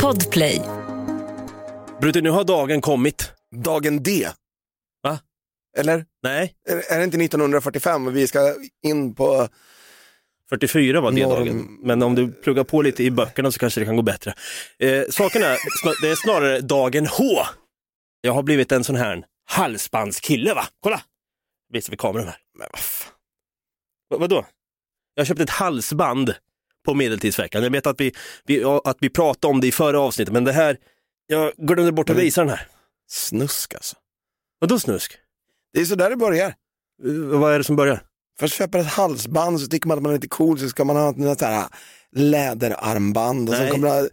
Podplay. Brutti, nu har dagen kommit. Dagen D. Va? Eller? Nej, Är, är det inte 1945 och vi ska in på... 44 var det Norm- dagen. Men om du pluggar på lite i böckerna så kanske det kan gå bättre. Eh, saken är, sna- det är snarare dagen H. Jag har blivit en sån här halsbandskille va? Kolla! Visar vi kameran här. Men vad fan. Va- vadå? Jag köpte ett halsband på medeltidsveckan. Jag vet att vi, vi, att vi pratade om det i förra avsnittet, men det här, jag glömde bort att Mm. visa den här. Snusk alltså. Vadå snusk? Det är så där det börjar. Eh, vad är det som börjar? Först köper ett halsband, så tycker man att man är lite cool, så ska man ha något sånt här läderarmband och Nej. sen kommer det ha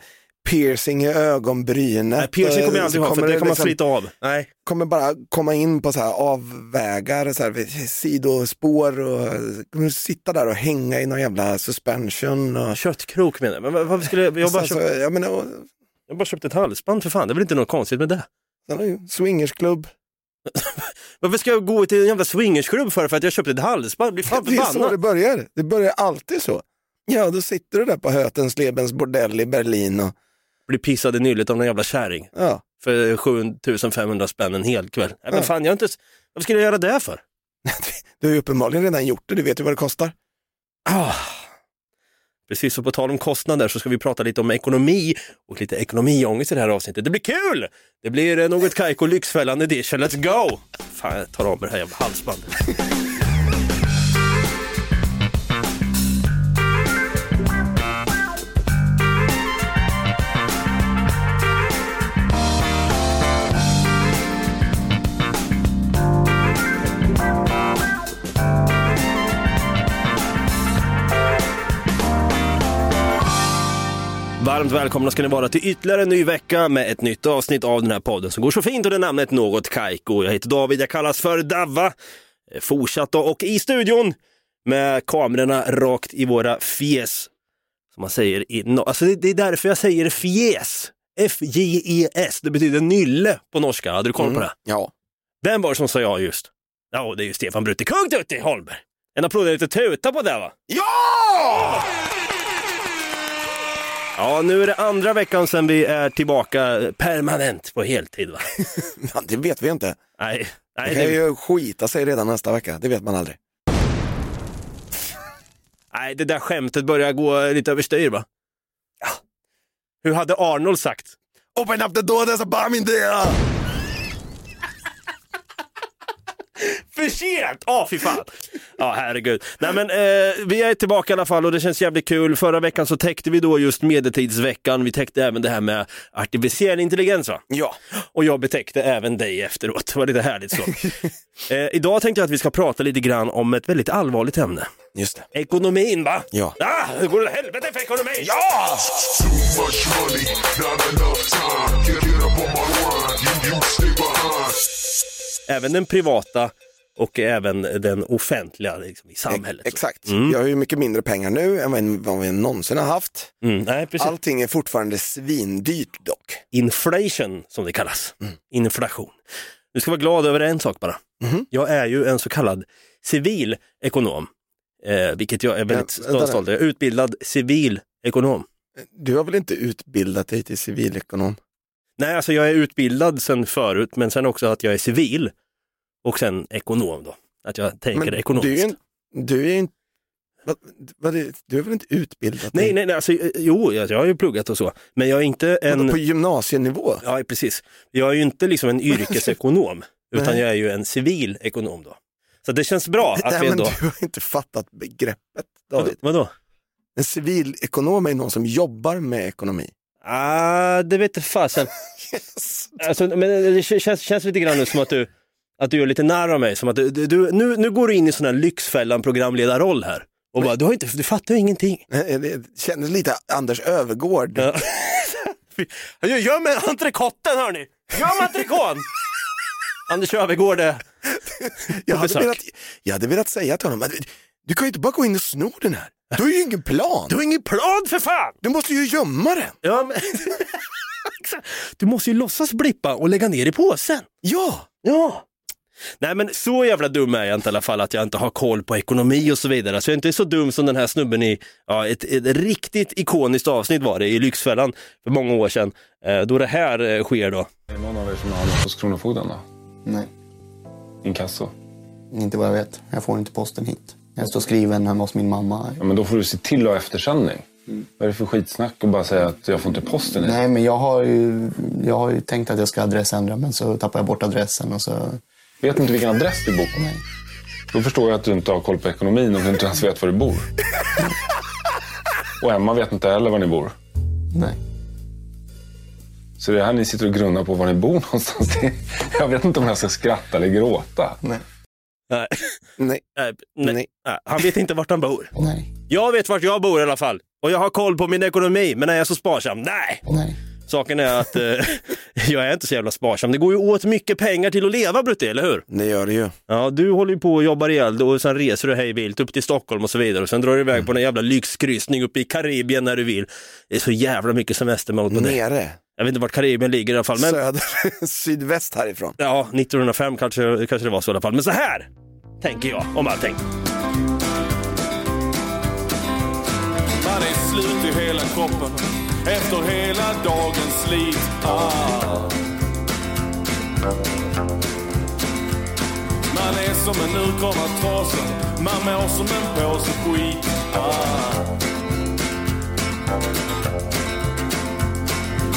piercing i ögonbrynet. Nej, piercing kommer jag Och aldrig eh, så ha, för det kan man liksom- slita av. Nej. kommer bara komma in på så här avvägar, så här, sidospår och kommer sitta där och hänga i någon jävla suspension. Och, Köttkrok menar jag. Men va- varför skulle jag, jag, bara sen, så, köpt, ja, men, och, jag bara köpt ett halsband för fan, det är väl inte något konstigt med det? sen har ju swingersklubb. Varför ska jag gå till en jävla swingersklubb för, för att jag köpte ett halsband? Bli fan Det är så det förbannad! börjar. Det börjar alltid så. Ja, då sitter du där på Hötenslebens bordell i Berlin och Bli pissad i nyllet av någon jävla kärring ja, för 7500 spänn en hel kväll. Nej, men Ja. fan, jag har inte, s- varför skulle jag göra det för? du har ju uppenbarligen redan gjort det. Du vet ju vad det kostar. Ah. Precis, och på tal om kostnader så ska vi prata lite om ekonomi och lite ekonomiångest i det här avsnittet. Det blir kul! Det blir eh, något Kaiko Lyxfällan edition. Let's go! Fan, jag tar av mig det här jävla halsbandet. Varmt välkomna ska ni vara till ytterligare en ny vecka med ett nytt avsnitt av den här podden som går så fint under namnet Något Kaiko. Jag heter David, jag kallas för Davva. Eh, Fortsatt då, och i studion med kamerorna rakt i våra fjes. Som man säger i no- alltså det, det är därför jag säger fjes. F-J-E-S, det betyder nylle på norska. Hade du koll på det? Ja. Vem var det som sa ja just? Ja, det är ju Stefan Brutti, kung Tutti Holmberg. En applåd är lite tuta på det va? Ja! Ja, nu är det andra veckan sedan vi är tillbaka permanent på heltid. Va? Ja, Det vet vi inte. Nej, nej, Det kan det, ju skita sig redan nästa vecka. Det vet man aldrig. nej, det där skämtet börjar gå lite överstyr va? Hur hade Arnold sagt? Open up the door, there's a bomb in there! För sent! Ja, fy fan. Ja, herregud. Nej, men eh, vi är tillbaka i alla fall och det känns jävligt kul. Förra veckan så täckte vi då just medeltidsveckan. Vi täckte även det här med artificiell intelligens va? Ja. Och jag betäckte även dig efteråt. Det var lite härligt så. eh, idag tänkte jag att vi ska prata lite grann om ett väldigt allvarligt ämne. Just det. Ekonomin va? Ja. Ah, det går åt helvete för ekonomin! Ja! much money, not enough time. Get, get up on my line, you, you stay behind. Även den privata och även den offentliga liksom, i samhället. Exakt. Jag har ju mycket mindre pengar nu än vad- vad vi någonsin har haft. Mm, nej, precis. Allting är fortfarande svindyrt dock. Inflation som det kallas. Mm. Inflation. Du ska vara glad över en sak bara. Mhm. Jag är ju en så kallad civilekonom, eh, vilket jag är väldigt vänta nu. stolt över. Jag är utbildad civilekonom. Du har väl inte utbildat dig till civilekonom? Nej, alltså jag är utbildad sen förut, men sen också att jag är civil och sen ekonom då. Att jag tänker ekonomiskt. Du är ju en- du är ju inte... Vad, vad är, du är väl inte utbildat? Nej, nej, nej, alltså, eh, jo, jag jag har ju pluggat och så, men jag är inte en... Vadå, På gymnasienivå? Ja, precis. Jag är ju inte liksom en yrkesekonom, utan Nej. jag är ju en civil ekonom då. Så det känns bra att Nej, vi men ändå... du har inte fattat begreppet, Vad, David. vadå? En civilekonom är någon som jobbar med ekonomi. Ah, det vet inte fasen. Alltså, men det k- känns, känns lite grann nu som att du, att du gör lite narr av mig. Som att du, du, du, nu, nu går du in i sån här Lyxfällan-programledarroll här. Och bara, du, har inte, du fattar ju ingenting. Nej, eh, Det kändes lite Anders Övergård. Ja. Jag gör mig entrecoten hörni! Gör mig entrecôte! Anders Öfvergård är... Jag hade, besök. velat, jag hade velat säga till honom, att du kan ju inte bara gå in och sno den här. Du har ju ingen plan. Du har ingen plan för fan! Du måste ju gömma den. Ja, men... Exakt. du måste ju låtsas blippa och lägga ner i påsen. Ja, Ja. Nej men så jävla dum är jag inte i alla fall att jag inte har koll på ekonomi och så vidare. Så jag är inte så dum som den här snubben i, ja, ett, ett riktigt ikoniskt avsnitt var det i Lyxfällan för många år sedan. Eh, då det här eh, sker då. Är det någon av er som har hamnat hos Kronofogden då? Nej, Inkasso? inte vad jag vet. Jag får inte posten hit. Jag står skriven hemma hos min mamma. Ja, men då får du se till att ha eftersändning. Vad är det för skitsnack att bara säga att jag får inte posten hit? Nej, men jag har, ju, jag har ju tänkt att jag ska adressändra, men så tappar jag bort adressen och så... Vet inte vilken adress du bor på? Nej. Då förstår jag att du inte har koll på ekonomin och du inte ens vet var du bor. Och Emma vet inte heller var ni bor. Nej. Så det är här ni sitter och grunnar på var ni bor någonstans. Det- Jag vet inte om jag ska skratta eller gråta. Nej. Nej, Nej, nej, nej, nej. nej. Han vet inte vart han bor. Nej. Jag vet vart jag bor i alla fall. Och jag har koll på min ekonomi, men är jag så sparsam? Nej! Nej. Saken är att eh, jag är inte så jävla sparsam. Det går ju åt mycket pengar till att leva Brutti, eller hur? Det gör det ju. Ja, du håller ju på och jobbar ihjäl dig och sen reser du hej vilt upp till Stockholm och så vidare. Och sen drar du iväg på en jävla lyxkryssning uppe i Karibien när du vill. Det är så jävla mycket semestermål på det. Nere, Jag vet inte vart Karibien ligger i alla fall. Men, söder, sydväst härifrån. Ja, 1905 kanske, kanske det var så i alla fall. Men så här tänker jag om allting. Man är slut i hela kroppen efter hela dagens slit. Ah. Man är som en urkomma trasa, man mår som en påse skit. Ah.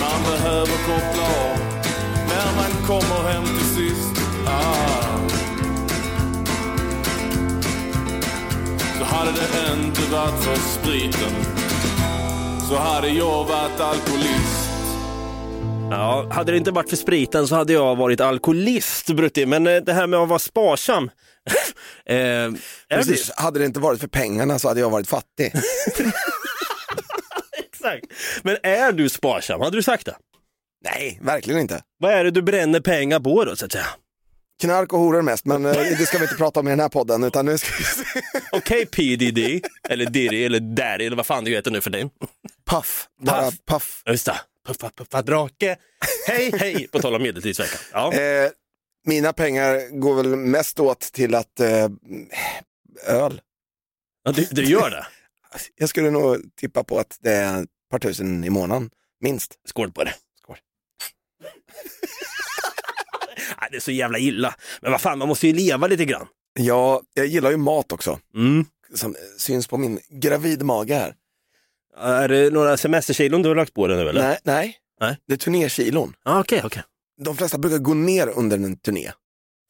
Man behöver koppla av när man kommer hem till sist. Ah. Så hade det inte varit för spriten så hade jag varit alkoholist. Ja, hade det inte varit för spriten så hade jag varit alkoholist Brutti. Men eh, det här med att vara sparsam. eh, är det? Precis. Hade det inte varit för pengarna så hade jag varit fattig. Exakt. Men är du sparsam? Hade du sagt det? Nej, verkligen inte. Vad är det du bränner pengar på då så att säga? Knark och horor mest, men eh, det ska vi inte prata om i den här podden. Utan nu ska vi se. Okej PDD, eller Diddy, eller Daddy, eller vad fan du heter nu för din. Puff, bara Puff. puff. Just det. Puffa, puffa, drake. Hej, hej, på tal om medeltidsveckan. Ja. Eh, mina pengar går väl mest åt till att eh, öl. Ja, du, du gör det. Jag skulle nog tippa på att det är ett par tusen i månaden, minst. Skål på det. Skål. Nej, det är så jävla illa. Men vad fan, man måste ju leva lite grann. Ja, jag gillar ju mat också, Mm. som syns på min gravid mage här. Är det några semesterkilon du har lagt på dig nu eller? Nej, nej. Nej. det är turnékilon. Ah, okej, okej. De flesta brukar gå ner under en turné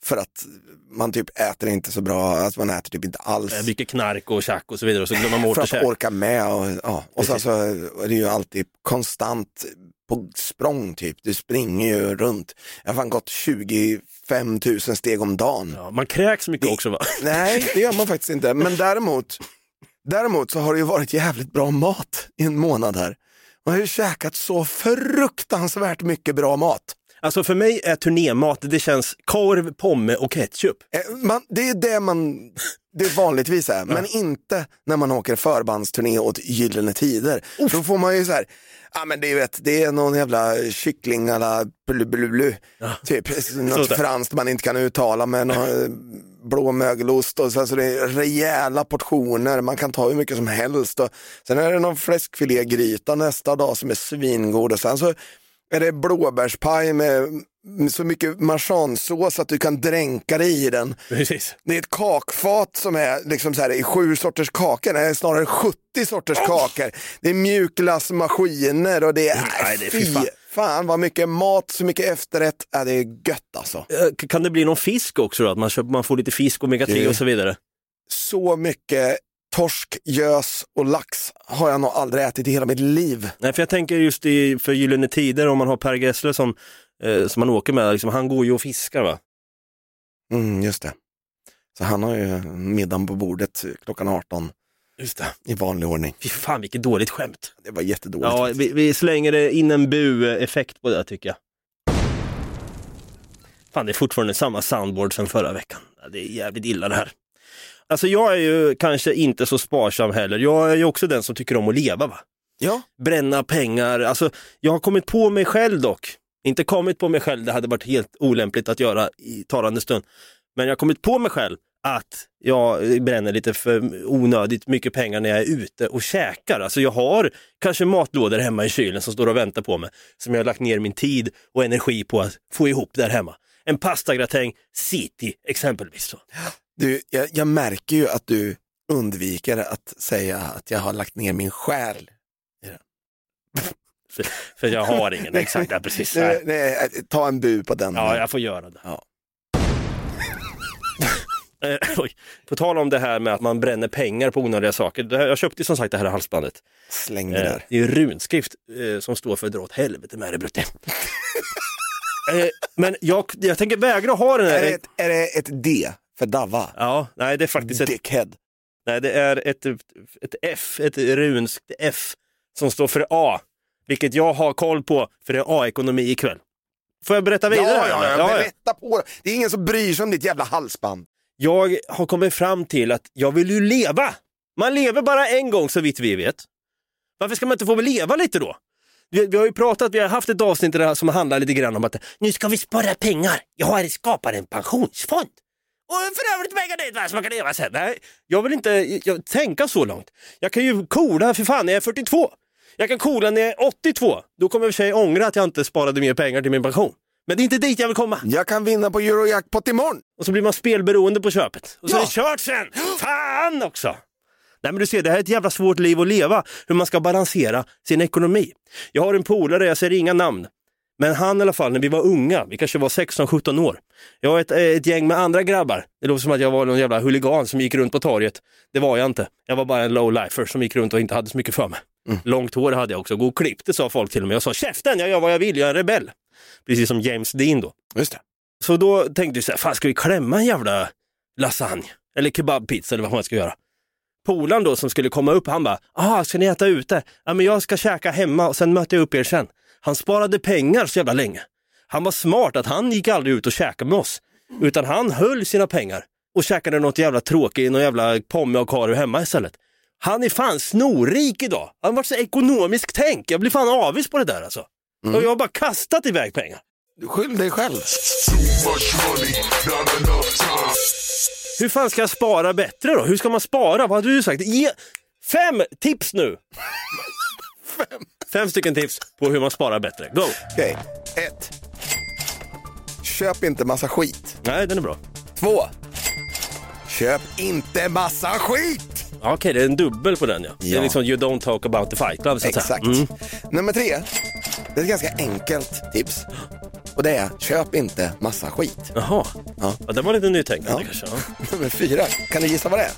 för att man typ äter inte så bra, alltså man äter typ inte alls. Eh, Mycket knark och tjack och så vidare och så glömmer man bort för att att käka. orka med och, ja. och sen Precis. så är det ju alltid konstant på språng typ. Du springer ju runt. Jag har fan gått 25 000 steg om dagen. Ja, man kräks mycket Det- också va? Nej, det gör man faktiskt inte. Men däremot, däremot så har det ju varit jävligt bra mat i en månad här. Man har ju käkat så fruktansvärt mycket bra mat. Alltså för mig är turnémat, det känns korv, pomme och ketchup. Eh, Man, det är det man det vanligtvis är, men inte när man åker förbandsturné åt Gyllene Tider. Då får man ju så här, ja men det, vet, det är någon jävla kyckling à la blu, blu, blu, typ Så något där. franskt man inte kan uttala med någon eh, blå mögelost och sen så alltså det är rejäla portioner, man kan ta hur mycket som helst. Och sen är det någon fläskfilégryta nästa dag som är svingod och sen så är det blåbärspaj med så mycket marsansås att du kan dränka dig i den. Precis. Det är ett kakfat som är liksom så här, i sju sorters kakor, nej snarare 70 sorters kakor. Det är mjukglassmaskiner och det är, Nej, det är fy fy fan. fan. vad mycket mat, så mycket efterrätt. Ja, det är gött alltså. Eh, Kan det bli någon fisk också då? Att man, köper, man får lite fisk, omega-3 Det- och så vidare? Så mycket torsk, gös och lax har jag nog aldrig ätit i hela mitt liv. Nej, för jag tänker just i, för Gyllene Tider, om man har Per Gessle som, eh, som man åker med, liksom, han går ju och fiskar va? Mm, just det. Så han har ju middagen på bordet klockan 18 Just det. i vanlig ordning. Fy fan vilket dåligt skämt. Det var jättedåligt. Ja, vi, vi slänger det in en bu-effekt på det tycker jag. Fan, det är fortfarande samma soundboard som förra veckan. Ja, Det är jävligt illa det här. Alltså jag är ju kanske inte så sparsam heller. Jag är ju också den som tycker om att leva va? ja. bränna pengar. Alltså, jag har kommit på mig själv dock. Inte kommit på mig själv, det hade varit helt olämpligt att göra i talande stund. Men jag har kommit på mig själv att jag bränner lite för onödigt mycket pengar när jag är ute och käkar. Alltså jag har kanske matlådor hemma i kylen som står och väntar på mig, som jag har lagt ner min tid och energi på att få ihop där hemma. En pastagratäng, city exempelvis. Så. Du, jag, jag märker ju att du undviker att säga att jag har lagt ner min själ. För, för jag har ingen exakt, ja, precis. Nej, Nej. nej, eh, ta en bu på den. Ja, jag får göra det. Mm. Ja. Eh, Oj. På tal om det här med att man bränner pengar på onödiga saker. Det här, jag köpte ju som sagt det här halsbandet. Släng Mm, det Eh, där. Det är ju runskrift eh, som står för dra åt helvete med det Brutte. eh, men jag, jag tänker vägra ha den Är här. det, ett, är det ett D för Dava? Ja, nej det är faktiskt ett, Dickhead. nej, det är ett, ett F, ett runskt F som står för A. Vilket jag har koll på för det är A-ekonomi ikväll. Får jag berätta vidare? Ja, här, ja, eller? ja, berätta på det. Det är ingen som bryr sig om ditt jävla halsband. jag har kommit fram till att jag vill ju leva. Man lever bara en gång så vitt vi vet. Varför ska man inte få leva lite då? Vi, vi har ju pratat, vi har haft ett avsnitt där som handlar lite grann om att nu ska vi spara pengar. Jag har skapat en pensionsfond. Och för övrigt pengar dit va, så man kan leva sen. Nej, jag vill inte jag- jag, tänka så långt. Jag kan ju coola för fan när jag är 42. Jag kan coola när jag är 82. Då kommer jag i och för sig ångra att jag inte sparade mer pengar till min pension. Men det är inte dit jag vill komma. Jag kan vinna på Eurojackpot imorgon. Och så blir man spelberoende på köpet. Och så Ja. är det kört sen! Fan också! Nej men du ser, det här är ett jävla svårt liv att leva, hur man ska balansera sin ekonomi. Jag har en polare, jag säger inga namn, men han i alla fall, när vi var unga, vi kanske var 16-17 år. Jag var ett, eh, ett gäng med andra grabbar. Det låter som att jag var någon jävla huligan som gick runt på torget. Det var jag inte. Jag var bara en lowlifer som gick runt och inte hade så mycket för mig. Långt hår hade jag också, god klippte sa folk till mig. Jag sa käften, jag gör vad jag vill, jag är en rebell. Precis som James Dean då. Just det. Så då tänkte jag så här, fan ska vi klämma en jävla lasagne? Eller kebabpizza eller vad man ska göra. Polaren då som skulle komma upp, han bara, ah, ska ni äta ute? Ja, men jag ska käka hemma och sen möter jag upp er sen. Han sparade pengar så jävla länge. Han var smart att han gick aldrig ut och käkade med oss, utan han höll sina pengar och käkade något jävla tråkigt, någon jävla pomme och karu hemma istället. Han är fan snorrik idag. Han var så ekonomiskt tänk. Jag blir fan avis på det där alltså. Och jag har bara kastat iväg pengar. Skyll dig själv. Much money, not enough time. Hur fan ska jag spara bättre då? Hur ska man spara? Vad hade du sagt? Ge fem tips nu! fem. stycken tips på hur man sparar bättre. Go! Okej, ett. Köp inte massa skit. Nej, den är bra. Två. Köp inte massa skit. Ja, Okej, det är en dubbel på den ja. Det är Ja. liksom you don't talk about the fight club så att Exakt. säga. Mm. Nummer tre. Det är ett ganska enkelt tips. Och det är, köp inte massa skit. Jaha. Ja. Ja. det var lite nytänkande Ja. kanske. Nummer fyra. Kan du gissa vad det är?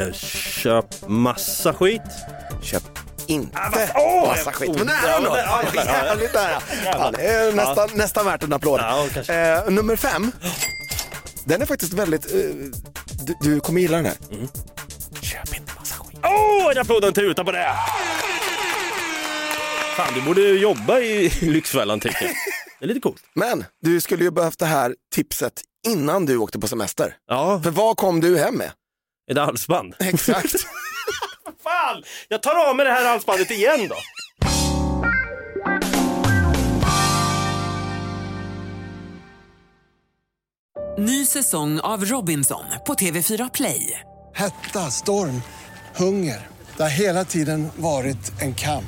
Ja. Eh, Köp massa skit. Köp inte Ah, åh, massa jag- skit. oh, Men ja, nära ändå. men- ja, jävlar, ja. Härligt där. Fan, det är nästan, nästan värt en applåd. Ja, kanske. Eh, nummer fem. Den är faktiskt väldigt... eh, du, du kommer gilla den här. Köp inte massa skit. Åh, oh, en applåd och en tuta på det! Fan, du borde ju jobba i Lyxfällan tycker jag. Det är lite coolt. Men du skulle ju behövt det här tipset innan du åkte på semester. Ja, För vad kom du hem med? ett halsband. Exakt. Fan! Jag tar av mig det här halsbandet igen då. Ny säsong av Robinson på TV4 Play. Hetta, storm, hunger. Det har hela tiden varit en kamp.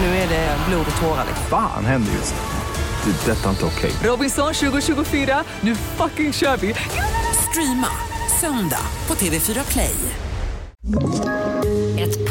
Nu är det blod och tårar. Fan händer just nu. Det. är Detta är inte okej. Robinson 2024, nu fucking kör vi! Streama söndag på TV4 Play. Ett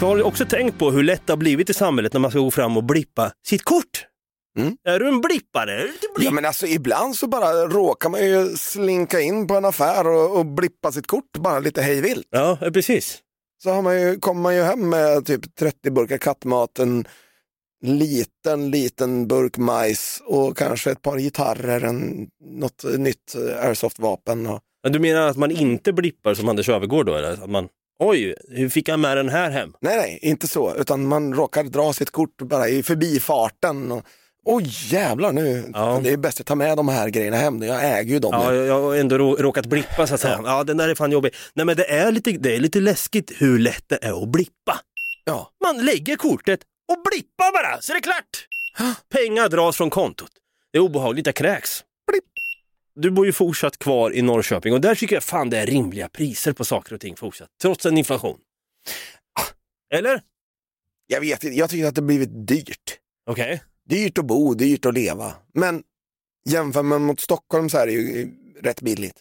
Jag har också tänkt på hur lätt det har blivit i samhället när man ska gå fram och blippa sitt kort. Är du en blippare? Är du inte blipp- ja, men alltså, ibland så bara råkar man ju slinka in på en affär och, och blippa sitt kort bara lite hejvilt. Ja, ja, precis. Så har man ju, kommer man ju hem med typ 30 burkar kattmat, en liten, liten burk majs och kanske ett par gitarrer, en, något nytt airsoft-vapen. Och, Men du menar att man inte blippar som Anders Öfvergård då? Eller? Att man, oj, hur fick jag med den här hem? Nej, nej, inte så, utan man råkar dra sitt kort bara i förbifarten. Och, Oj jävlar nu, det är bäst att ta med de här grejerna hem, jag äger ju dem. Ja, jag, jag har ändå rå- råkat blippa så att säga. Ja, den där är fan jobbig. Nej, men det är, lite, det är lite läskigt hur lätt det är att blippa. Ja. Man lägger kortet och blippar bara, så är det klart. Pengar dras från kontot. Det är obehagligt, jag kräks. Blipp. Du bor ju fortsatt kvar i Norrköping och där tycker jag fan det är rimliga priser på saker och ting fortsatt, trots en inflation. Ah, Eller? Jag vet inte, jag tycker att det blivit dyrt. Okej. Dyrt att bo, dyrt att leva. Men jämför man mot Stockholm så här är det ju rätt billigt.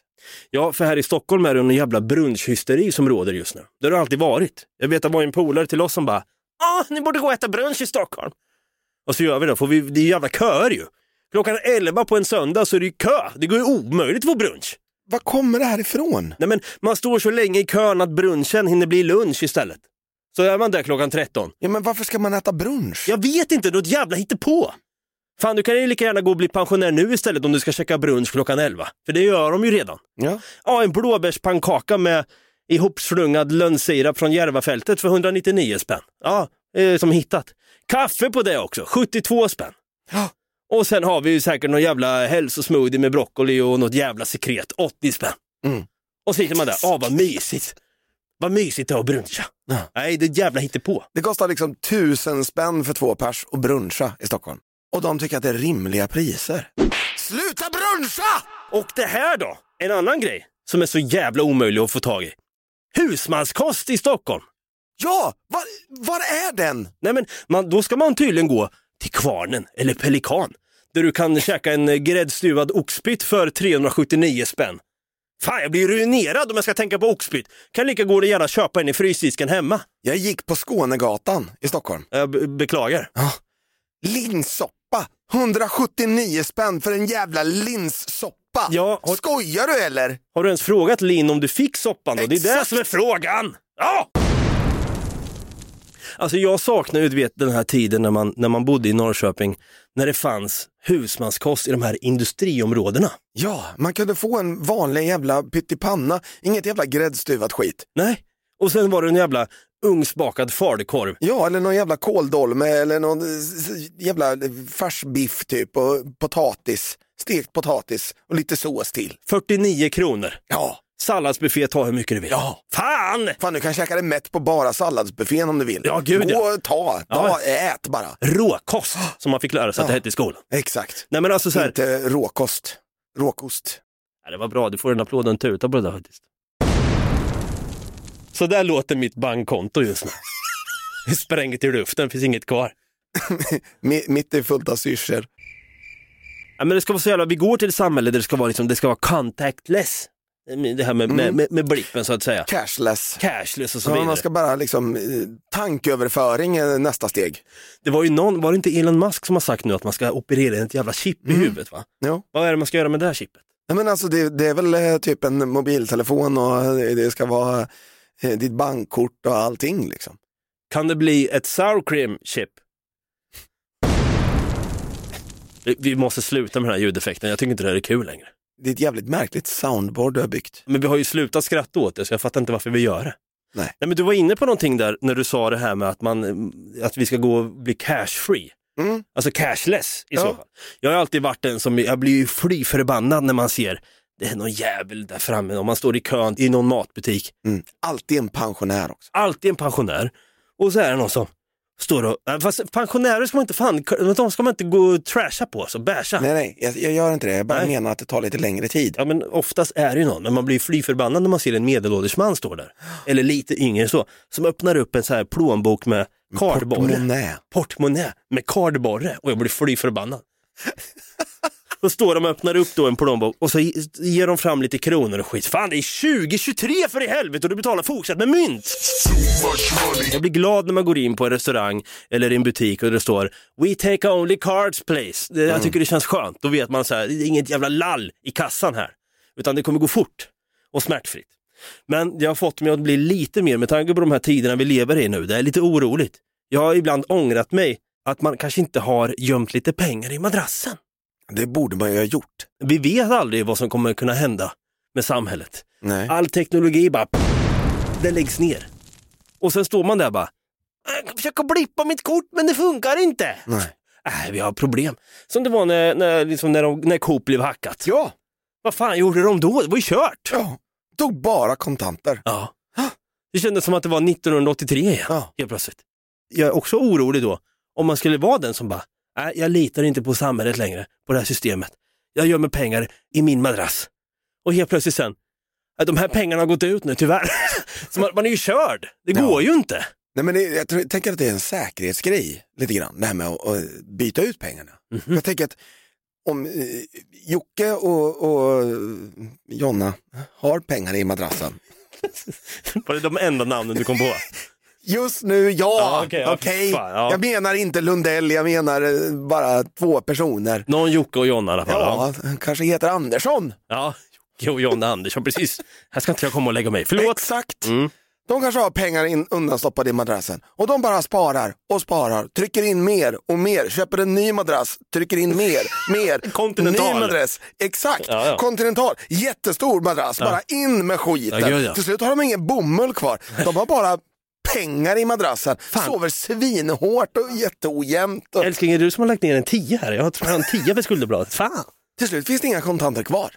Ja, för här i Stockholm är det en jävla brunchhysteri som råder just nu. Det har det alltid varit. Jag vet att det var en polare till oss som bara ah, ni borde gå och äta brunch i Stockholm. Och så gör vi det, för vi, det är jävla köer ju. Klockan 11 på en söndag så är det ju kö. Det går ju omöjligt att få brunch. Var kommer det här ifrån? Nej men man står så länge i kön att brunchen hinner bli lunch istället. Så är man där klockan 13. Ja, men varför ska man äta brunch? Jag vet inte, något jävla på. Fan, du kan ju lika gärna gå och bli pensionär nu istället om du ska käka brunch klockan 11. För det gör de ju redan. Ja. Ja, en blåbärspannkaka med ihopslungad lönnsirap från Järvafältet för 199 spänn. Ja, eh, som hittat. Kaffe på det också, 72 spänn. Och sen har vi ju säkert någon jävla hälsosmoothie med broccoli och något jävla sekret, 80 spänn. Mm. Och så sitter man där, ah vad mysigt. Vad mysigt det är att bruncha. Nej, det är ett jävla hittepå. Det kostar liksom tusen spänn för två pers och bruncha i Stockholm. Och de tycker att det är rimliga priser. Sluta bruncha! Och det här då, en annan grej som är så jävla omöjlig att få tag i. Husmanskost i Stockholm. Ja, var, var är den? Nej men man, då ska man tydligen gå till Kvarnen eller Pelikan. Där du kan käka en eh, gräddstuvad oxpytt för 379 spänn. Fan, jag blir ruinerad om jag ska tänka på oxpytt. Kan lika gärna gärna köpa en i frysdisken hemma. Jag gick på Skånegatan i Stockholm. Jag be- beklagar. Linssoppa! 179 spänn för en jävla linssoppa! Ja, har- Skojar du eller? Har du ens frågat Linn om du fick soppan? Då? Det är det som är frågan! Ja! Alltså jag saknar ju du vet, den här tiden när man, när man bodde i Norrköping, när det fanns husmanskost i de här industriområdena. Ja, man kunde få en vanlig jävla pyttipanna, inget jävla gräddstuvat skit. Nej, och sen var det en jävla ugnsbakad falukorv. Ja, eller någon jävla kåldolme eller någon eh, s- jävla färsbiff typ och potatis, stekt potatis och lite sås till. 49 kronor. Ja, Salladsbuffé, ta hur mycket du vill. Ja. Fan! fan du kan käka dig mätt på bara salladsbuffén om du vill. Ja, gud, Gå ja. och ta, ta ät bara. Råkost, som man fick lära sig att det Ah. Ja. hette i skolan. Exakt, Nej men alltså så här, inte råkost. Råkost. Ja, det var bra, du får en applåd och en tuta på det där faktiskt. Så där låter mitt bankkonto just nu. Det är sprängt i luften, finns inget kvar. Mi- Mitt är fullt av syrsor. Ja, men det ska vara så jävla, vi går till ett samhälle där det ska vara, liksom, det ska vara contactless. Det här med, med, med, med blippen så att säga. Cashless. Cashless och så Så vidare. Mm. man ska bara liksom, eh, tanköverföring är nästa steg. Det var ju någon, var det inte Elon Musk som har sagt nu att man ska operera ett jävla chip i huvudet va? Ja. Vad är det man ska göra med det här chippet? Nej, Men alltså det, det är väl eh, typ en mobiltelefon och eh, det ska vara eh, ditt bankkort och allting. Liksom. Kan det bli ett sour cream chip? Vi- Vi måste sluta med den här ljudeffekten, jag tycker inte det här är kul längre. Det är ett jävligt märkligt soundboard du har byggt. Men vi har ju slutat skratta åt det, så jag fattar inte varför vi gör det. Nej. Nej, men du var inne på någonting där när du sa det här med att, man, eh, att vi ska gå och bli cash-free. Mm. Alltså cashless i Ja. så fall. Jag har alltid varit den som, jag blir ju fly förbannad när man ser det är någon jävel där framme, om man står i kön i någon matbutik. Mm. Alltid en pensionär också. Alltid en pensionär. Och så är det någon som står och, eh, fast pensionärer ska man inte fan, de ska man inte gå och trasha på, så basha. Nej, nej, jag, jag gör inte det. Jag bara Nej. menar att det tar lite längre tid. Ja men oftast är det ju någon, men man blir fly förbannad när man ser en medelålders man stå där. Eller lite yngre så, som öppnar upp en så här plånbok med kardborre. Portmonnä. Portmonnaie med kardborre och jag blir fly förbannad. Då står de och öppnar upp då en plånbok och så ge- ger de fram lite kronor och skit. Fan det är 2023 för i helvete och du betalar fortsatt med mynt! Jag blir glad när man går in på en restaurang eller i en butik och det står “We take only cards please”. Det, Jag tycker det känns skönt. Då vet man så här, det är inget jävla lall i kassan här. Utan det kommer gå fort och smärtfritt. Men det har fått mig att bli lite mer, med tanke på de här tiderna vi lever i nu, det är lite oroligt. Jag har ibland ångrat mig att man kanske inte har gömt lite pengar i madrassen. Det borde man ju ha gjort. Vi vet aldrig vad som kommer kunna hända med samhället. Nej. All teknologi bara, det läggs ner. Och sen står man där bara, jag försöker blippa mitt kort men det funkar inte. Nej. Nej, vi har problem. Som det var när, när, liksom när, de, när Coop blev hackat. Ja. Vad fan gjorde de då? Det var ju kört. Ja. Tog bara kontanter. Ja. Det kändes som att det var 1983 igen, Ja. helt plötsligt. Jag är också orolig då, om man skulle vara den som bara, nej, jag litar inte på samhället längre, på det här systemet. Jag gömmer pengar i min madrass. Och helt plötsligt sen, "Ja, de här pengarna har gått ut nu tyvärr. Så man, man är ju körd, det Ja. går ju inte. Nej, men det, jag tror, jag tänker att det är en säkerhetsgrej lite grann, det här med att, att byta ut pengarna. Mhm. Jag tänker att om eh, Jocke och, och eh, Jonna har pengar i madrassen. Var det de enda namnen du kom på? Just nu, ja! Ja, Okej, okej, ja, fan, ja. jag menar inte Lundell, jag menar eh, bara två personer. Någon Jocke och Jonna i alla fall. Ja, han kanske heter Andersson. ja. Jocke och Jonna Andersson, precis. Här ska inte jag komma och lägga mig, förlåt. Exakt. Mm. De kanske har pengar in, undanstoppade i madrassen och de bara sparar och sparar, trycker in mer och mer, köper en ny madrass, trycker in mer, mer, Continental. ny madrass, exakt, Ja, ja. kontinental, jättestor madrass, bara in med skiten. Ja, gud, ja. Till slut har de ingen bomull kvar, de har bara pengar i madrassen, sover svinhårt och jätteojämnt. Och... Älskling, är det du som har lagt ner en tia här? Jag tror han tia för skulderbladet. Fan! Till slut finns det inga kontanter kvar.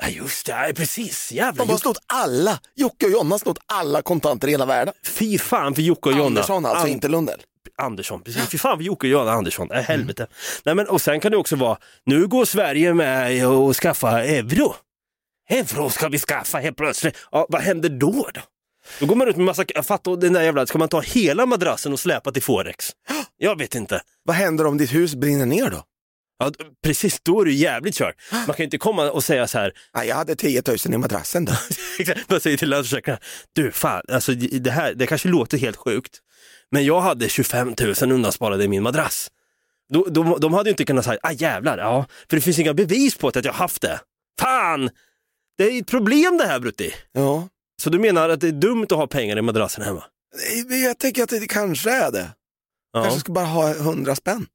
Ja, just det. Ja, precis. Jävlar. De har snott alla, Jocke och Jonna har snott alla kontanter i hela världen. Fy fan för Jocke och Jonna. Andersson alltså, An- inte Mm. Lundell. Andersson, precis. Fy fan för Jocke och Jonna Andersson. Äh, helvete. Nej, men, och sen kan det också vara, nu går Sverige med och skaffa euro. Euro ska vi skaffa helt plötsligt. Ja, vad händer då? då? Då går man ut med massa, jag fattar den där jävla, ska man ta hela madrassen och släpa till Forex? Jag vet inte. Vad händer om ditt hus brinner ner då? Ja, d- precis, då är du jävligt körd. Man kan ju inte komma och säga så här, Nej, jag hade 10 000 i madrassen då. Exakt, man säger till Länsförsäkringarna, du fan, alltså, det här det kanske låter helt sjukt, men jag hade 25 000 undansparade i min madrass. De, de, de hade ju inte kunnat säga, ah jävlar, ja, för det finns inga bevis på att jag haft det. Fan! Det är ett problem det här Brutti. Ja. Så du menar att det är dumt att ha pengar i madrassen hemma? Nej, Eh, Jag tänker att det kanske är det. Ja. kanske ska bara ha 100 spänn.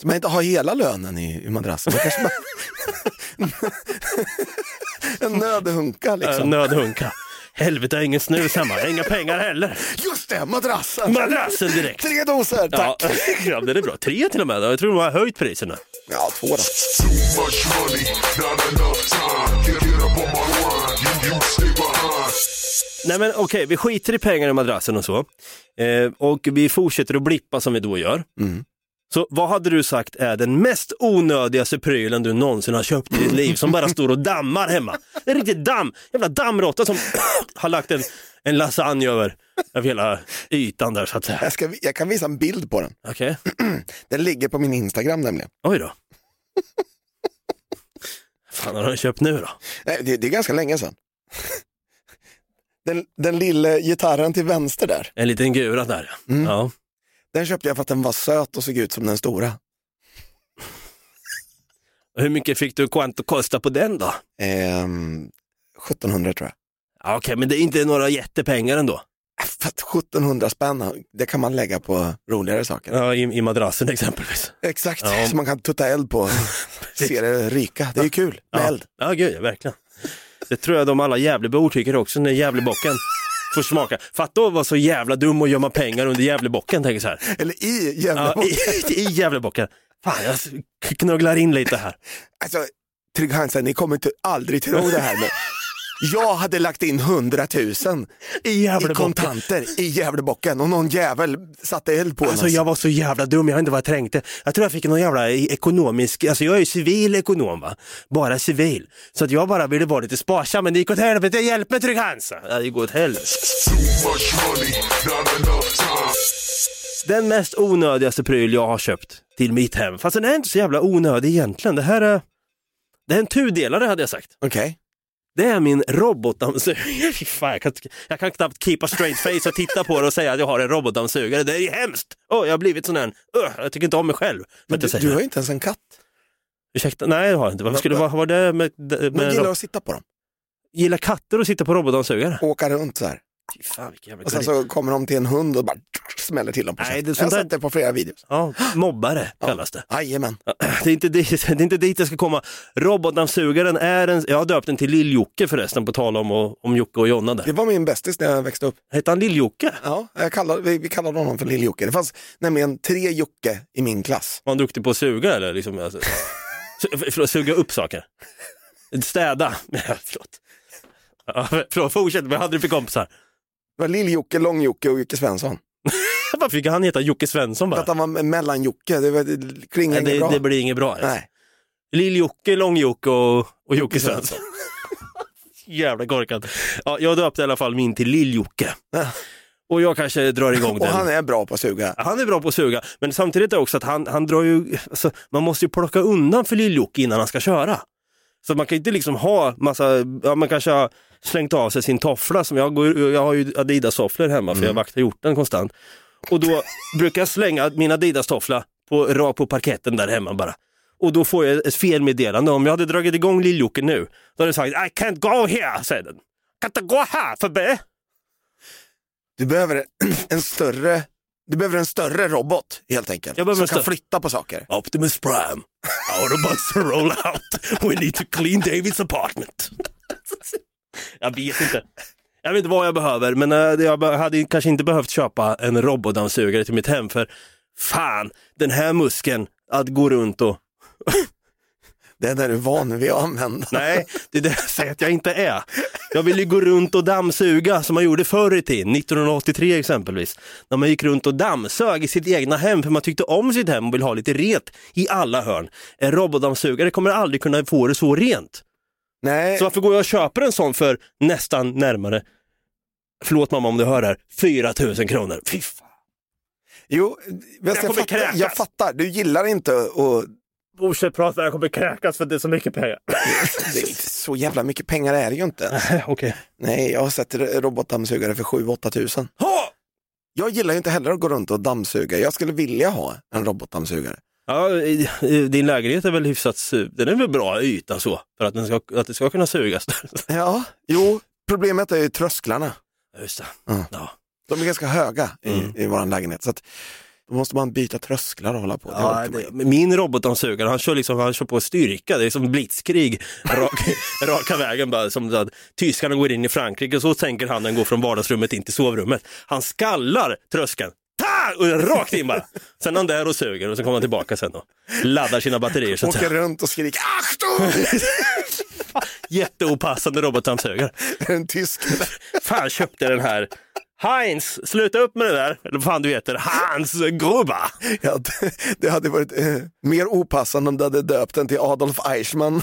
Så man inte har hela lönen i, i madrassen. Man kanske bara... en nödhunka Äh, liksom. Nödhunka. Helvete, jag har ingen snus hemma, jag har inga pengar heller. Just det, madrassen! Madrassen direkt! Tre doser, tack! Ja, ja, det är bra. Tre till och med, jag tror de har höjt priserna. Ja, två då. Too much money, not enough time. Can't get up on my grind. You, you stay behind. Nej men okej, vi skiter i pengar i madrassen och så. Eh, och vi fortsätter att blippa som vi då gör. Så vad hade du sagt är den mest onödigaste prylen du någonsin har köpt i ditt liv som bara står och dammar hemma? En riktig damm, jävla dammråtta som har lagt en, en lasagne över, över hela ytan där så att säga. Jag, ska, jag kan visa en bild på den. Okej, Den ligger på min Instagram nämligen. oj då. fan har du köpt nu då? Nej, Eh, det, det är ganska länge sedan. Den, den lilla gitarren till vänster där, En liten gura där ja. ja. den köpte jag för att den var söt och såg ut som den stora. Och Hur mycket fick du quanto kosta på den då? Ehm, 1700 tror jag. Äh, Ja, Okej, men det är inte några jättepengar ändå. För att 1700 spänn, det kan man lägga på roligare saker. Ja, i, i madrassen exempelvis. Exakt, Ja. som man kan tutta eld på. Se det ryka, det är ju kul med Ja, eld. ja gud, ja, verkligen. Det tror jag de alla Gävlebor tycker också när Gävlebocken får smaka. Fatta att vara så jävla dum och gömma pengar under Gävlebocken, tänker så här. Eller i jävla... Ja, i, I Gävlebocken. Fan, jag knugglar in lite här. Alltså, Trygg-Hansa, ni kommer till, aldrig tro det här men jag hade lagt in 100 000 I i kontanter i Gävlebocken och någon jävel satte eld på Alltså den. jag var så jävla dum, jag vet inte vad jag tänkte. Jag tror jag fick någon jävla i- ekonomisk, alltså jag är ju civil ekonom va, bara civil. Så att jag bara ville vara lite sparsam, men det gick åt helvete, hjälp mig Trygg-Hansa! Ja, det gick åt helvete. Too much money, not enough time. Den mest onödigaste pryl jag har köpt till mitt hem. Fast den är inte så jävla onödig egentligen. Det här är... Det är en tudelare hade jag sagt. Okej, Det är min robotdammsugare. Fy fan, jag, kan, inte- jag kan knappt keep a straight face och titta på det och säga att jag har en robotdammsugare. Det är ju hemskt! Åh, jag har blivit sån här... Öh, jag tycker inte om mig själv. för men att du, jag säger du har det. ju inte ens en katt. Ursäkta, nej det har jag inte. Varför skulle det vara vara det med... med Men gillar gillar, att sitta på dem, katter att sitta på robotdammsugare? åka runt så här. Fy fan, vilken jävla Och sen gullig. så kommer de till en hund och bara smäller till dem på Liksom. Nej, käften. det är Jag sånt har där- sett det på flera videos. Ja, mobbare kallas det. Jajamän. Det är, inte dit, det är inte dit jag ska komma. Robotdammsugaren är en... Jag har döpt den till Lill-Jocke förresten, på tal om, om Jocke och Jonna där. Det var min bästis när jag växte upp. Hette han Lill-Jocke? Ja, jag kallade, vi, vi kallade honom för Lill-Jocke. Det fanns nämligen tre Jocke i min klass. Var han duktig på att suga eller? Liksom, alltså, su förlåt, suga upp saker? Städa? förlåt. Ja, förlåt, fortsätt. Vad hade du för kompisar? Det var Lill-Jocke, Lång-Jocke och Jocke Svensson. Varför fick han heta Jocke Svensson För bara? att han var mellan-Jocke, det, var- det klingar Nej, inget bra. det, det blir inget bra. alltså. Nej. Lill-Jocke, Lång-Jocke och, och Jocke Svensson. Jävla korkad. Ja, jag döpte i alla fall min till Lill-Jocke. Ja. Och jag kanske drar igång Och den. han är bra på att suga. Han är bra på att suga, men samtidigt är det också att han, han drar ju, alltså, man måste ju plocka undan för lill innan han ska köra. Så man kan ju inte liksom ha massa, ja, man kanske har slängt av sig sin toffla, som jag, går, jag har ju Adidas-tofflor hemma för jag vaktar hjorten konstant. Och då brukar jag slänga min Adidas-toffla på, rakt på parketten där hemma bara. Och då får jag ett felmeddelande. Om jag hade dragit igång lill nu, då hade jag sagt I can't go here, säger den. Jag kan inte gå här förbi. Du behöver en större, du behöver en större robot helt enkelt. Jag behöver som en kan större- flytta på saker. Optimus Prime, Autobots roll out. We need to clean Davids apartment. jag vet inte. Jag vet inte vad jag behöver, men eh, jag be- hade kanske inte behövt köpa en robotdammsugare till mitt hem, för fan, den här muskeln att gå runt och... Det är där du är van vid att använda. Nej, det är det jag säger att jag inte är. Jag vill ju gå runt och dammsuga som man gjorde förr i tiden, 1983 exempelvis. När man gick runt och dammsög i sitt egna hem för man tyckte om sitt hem och vill ha lite rent i alla hörn. En robotdammsugare kommer aldrig kunna få det så rent. Nej, Så varför går jag och köper en sån för nästan närmare, förlåt mamma om du hör det här, 4 000 kronor. Fy fan. jo, jag, jag, kommer fattar, kräkas. jag fattar. Du gillar inte att... Fortsätt prata, jag kommer kräkas för det är så mycket pengar. det är inte Så jävla mycket pengar är det ju inte. Okej. Nej, jag har sett robotdammsugare för 7-8 tusen. Ha! Jag gillar ju inte heller att gå runt och dammsuga. Jag skulle vilja ha en robotdammsugare. Ja, i- i- din lägenhet är väl hyfsat, su- den är väl bra yta så, för att, den ska, att det ska kunna sugas. Ja, jo, problemet är ju trösklarna. Ja, Just det. Ja. Ja. De är ganska höga i, i vår lägenhet. Så att då måste man byta trösklar och hålla på. Det Ja, orkar man det, ju. min robotdammsugare, han kör, liksom, han kör på styrka, det är som blitzkrig rak, raka vägen. Bara, som att tyskarna går in i Frankrike och så tänker han när han går från vardagsrummet in till sovrummet. Han skallar tröskeln, ta! Och rakt in bara. Sen är han där och suger och så kommer han tillbaka sen och laddar sina batterier. Så att Åker säga. runt och skriker "Ah, Achtung! Jätteopassande robotdammsugare. Det är en tysk. Fan köpte jag den här. Heinz, sluta upp med det där. Eller vad fan du heter, Hans Gruba. Ja, det, det hade varit eh, mer opassande om du hade döpt den till Adolf Eichmann.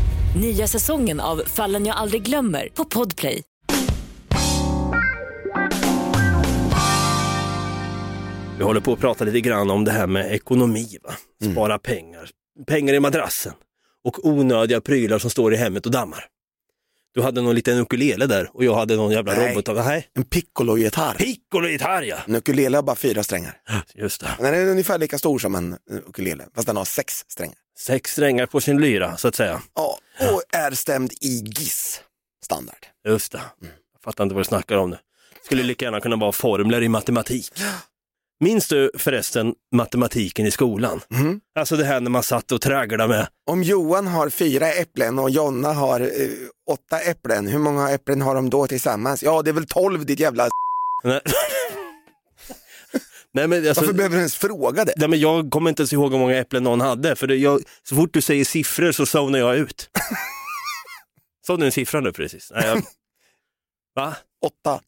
Nya säsongen av Fallen jag aldrig glömmer på Podplay. Vi håller på att prata lite grann om det här med ekonomi, va? Mm. spara pengar, pengar i madrassen och onödiga prylar som står i hemmet och dammar. Du hade någon liten ukulele där och jag hade någon jävla Nej. robot. Nej, En piccolo-gitarr. piccolo-gitarr ja! En ukulele har bara fyra strängar. Just det. Den är ungefär lika stor som en eh, ukulele, fast den har sex strängar. Sex strängar på sin lyra, så att säga. Ja, och är stämd i GIS standard. Just det. Jag fattar inte vad du snackar om nu. Skulle lika gärna kunna vara formler i matematik. Minns du förresten matematiken i skolan? Mhm. Alltså det här när man satt och tragglade med Om Johan har fyra äpplen och Jonna har eh, åtta äpplen, hur många äpplen har de då tillsammans? Ja, det är väl tolv ditt jävla... s***. Nej, Nej men alltså, Varför behöver du ens fråga det? nej, men jag kommer inte ens ihåg hur många äpplen någon hade, för det, jag, så fort du säger siffror så zonar jag ut. Sa du en siffra nu precis? Nej, jag, va? Åtta.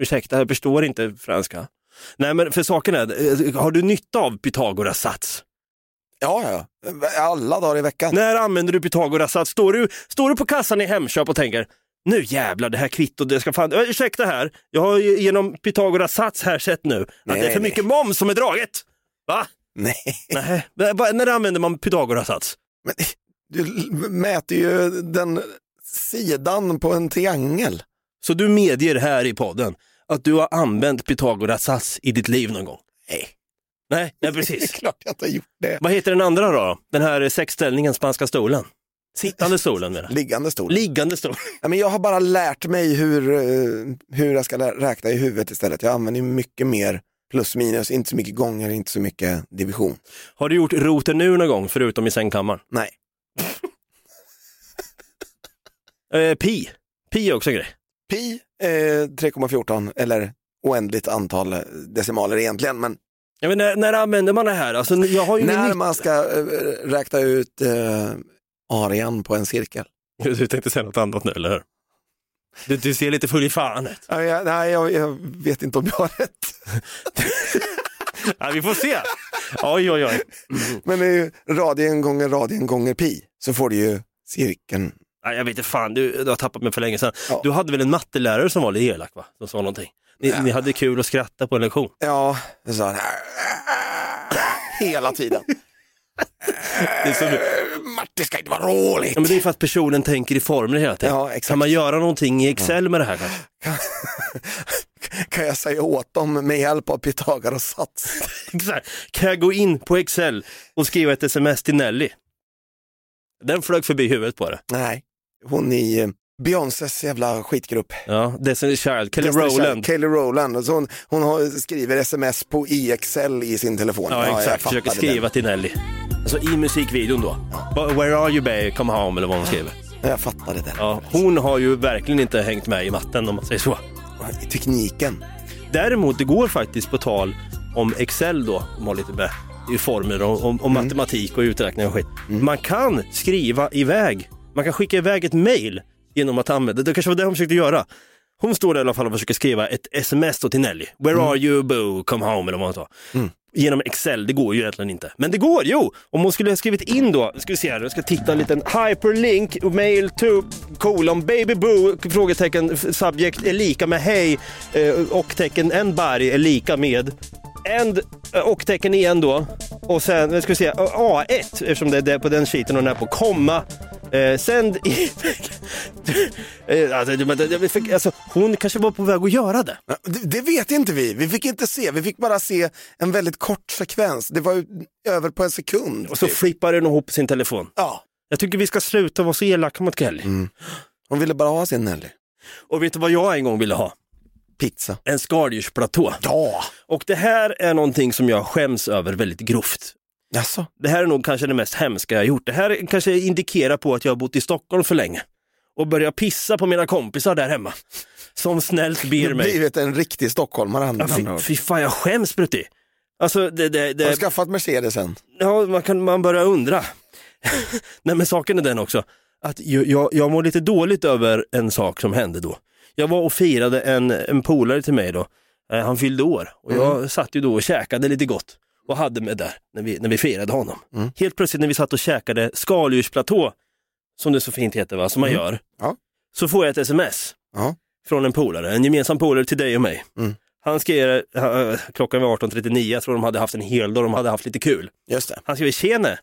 Ursäkta, jag förstår inte franska. Nej men för saken är, eh, har du nytta av Pythagoras sats? Ja, ja. Alla dagar i veckan. När använder du Pythagoras sats? Står du, står du på kassan i Hemköp och tänker, Nu jävlar, det här kvittot, det ska fan... Ö, Ursäkta här, jag har ju genom Pythagoras sats här sett nu att det är för nej. mycket moms som är draget. Va? Nej. Nej. Va- När använder man Pythagoras sats? Du l- mäter ju den sidan på en triangel. Så du medger här i podden att du har använt Pythagoras sats i ditt liv någon gång? Nej. Nej, nej precis. Det är klart jag inte har gjort det. Vad heter den andra då? Den här sexställningen, spanska stolen? Sittande stolen menar jag. Liggande stol. Liggande stol. Ja, men jag har bara lärt mig hur, eh, hur jag ska lä- räkna i huvudet istället. Jag använder ju mycket mer plus minus, inte så mycket gånger, inte så mycket division. Har du gjort roten nu någon gång, förutom i sängkammaren? Nej. Eh, pi. Pi är också en grej. Pi eh, 3,14 eller oändligt antal eh, decimaler egentligen, men Ja, men när, när använder man det här? Alltså, jag har ju ingen när nytta- man ska eh, räkna ut eh, arean på en cirkel. Du tänkte säga något annat nu, eller hur? Du, du ser lite full i fan ut. Ja, jag, nej, jag, jag vet inte om jag har rätt, Ja, vi får se. Oj, oj, oj. men det är ju radien gånger radien gånger pi så får du ju cirkeln. Nej, jag vet inte fan, du, du har tappat mig för länge sedan. Ja. Du hade väl en mattelärare som var lite elak, va? Som sa någonting. Ni, ni hade kul och skratta på en lektion. Ja, så här, hela tiden. Det är så, Martin ska inte vara roligt. ja, men det är för att personen tänker i formler hela tiden. Ja, exakt. Kan man göra någonting i Excel med det här kanske? Kan jag säga åt dem med hjälp av Pythagoras sats? Exakt. Kan jag gå in på Excel och skriva ett sms till Nelly? Den flög förbi huvudet på det. Nej, hon i eh, Beyoncés jävla skitgrupp. Ja, Destiny's Child, Kelly Destiny's Child, Rowland. Kelly Rowland. Så hon, hon har, skriver sms på i Excel i sin telefon. Ja, jag exakt. Försöker fattade skriva till Nelly. Alltså i musikvideon då. Where are you babe, come home eller vad hon skriver. Den. Jag fattade den. Ja, hon har ju verkligen inte hängt med i matten om man säger så. I Tekniken. Däremot, det går faktiskt på tal om Excel då, om man har lite med i formler och, om, Mm. om matematik och uträkning och skit. Man kan skriva iväg, man kan skicka iväg ett mejl genom att använda, det kanske var det hon försökte göra. Hon står där i alla fall och försöker skriva ett sms då till Nelly. Where Mm. are you boo, come home eller vad hon sa. Genom Excel, det går ju egentligen inte. Men det går, jo! Om hon skulle ha skrivit in då, ska vi se här, jag ska titta en liten hyperlink, mail to, kolon, baby boo, frågetecken, f- subject är lika med hej eh, och tecken en berg är lika med and eh, och tecken igen då och sen, nu ska vi se, A1 eftersom det är det på den sheeten och den här på komma. Eh, sänd i... eh, alltså, det- men det- det- fick- alltså, hon kanske var på väg att göra det. Ja, Det, det vet inte vi. Vi fick inte se. Vi fick bara se en väldigt kort sekvens. Det var ju över på en sekund. Och så typ. flippar hon ihop sin telefon. Ja, Jag tycker vi ska sluta vara så elaka mot Kelly. hon ville bara ha sin Nelly. Och vet du vad jag en gång ville ha? Pizza. En skaldjursplatå. Ja. Och det här är någonting som jag skäms över väldigt grovt. Jaså? Det här är nog kanske det mest hemska jag har gjort. Det här kanske indikerar på att jag har bott i Stockholm för länge och börjar pissa på mina kompisar där hemma. Som snällt Du ber har mig. blivit en riktig stockholmare. han- Ja, han fy, har- fy fan, jag skäms Brutti. Alltså, det, det, Har du det, skaffat Mercedesen? ja, man, kan, man börjar undra. Nej men saken är den också, att jag, jag, jag mår lite dåligt över en sak som hände då. Jag var och firade en, en polare till mig då, Eh, han fyllde år och Mm. jag satt ju då och käkade lite gott och hade med där när vi, när vi firade honom. Mm. Helt plötsligt när vi satt och käkade skaldjursplatå, som det så fint heter va, som man gör, Mm. Ja. så får jag ett sms Ja. från en polare, en gemensam polare till dig och mig. Mm. Han skrev, eh, klockan var 18.39, jag tror de hade haft en hel dag, de hade haft lite kul. Just det. Han skriver, tjene,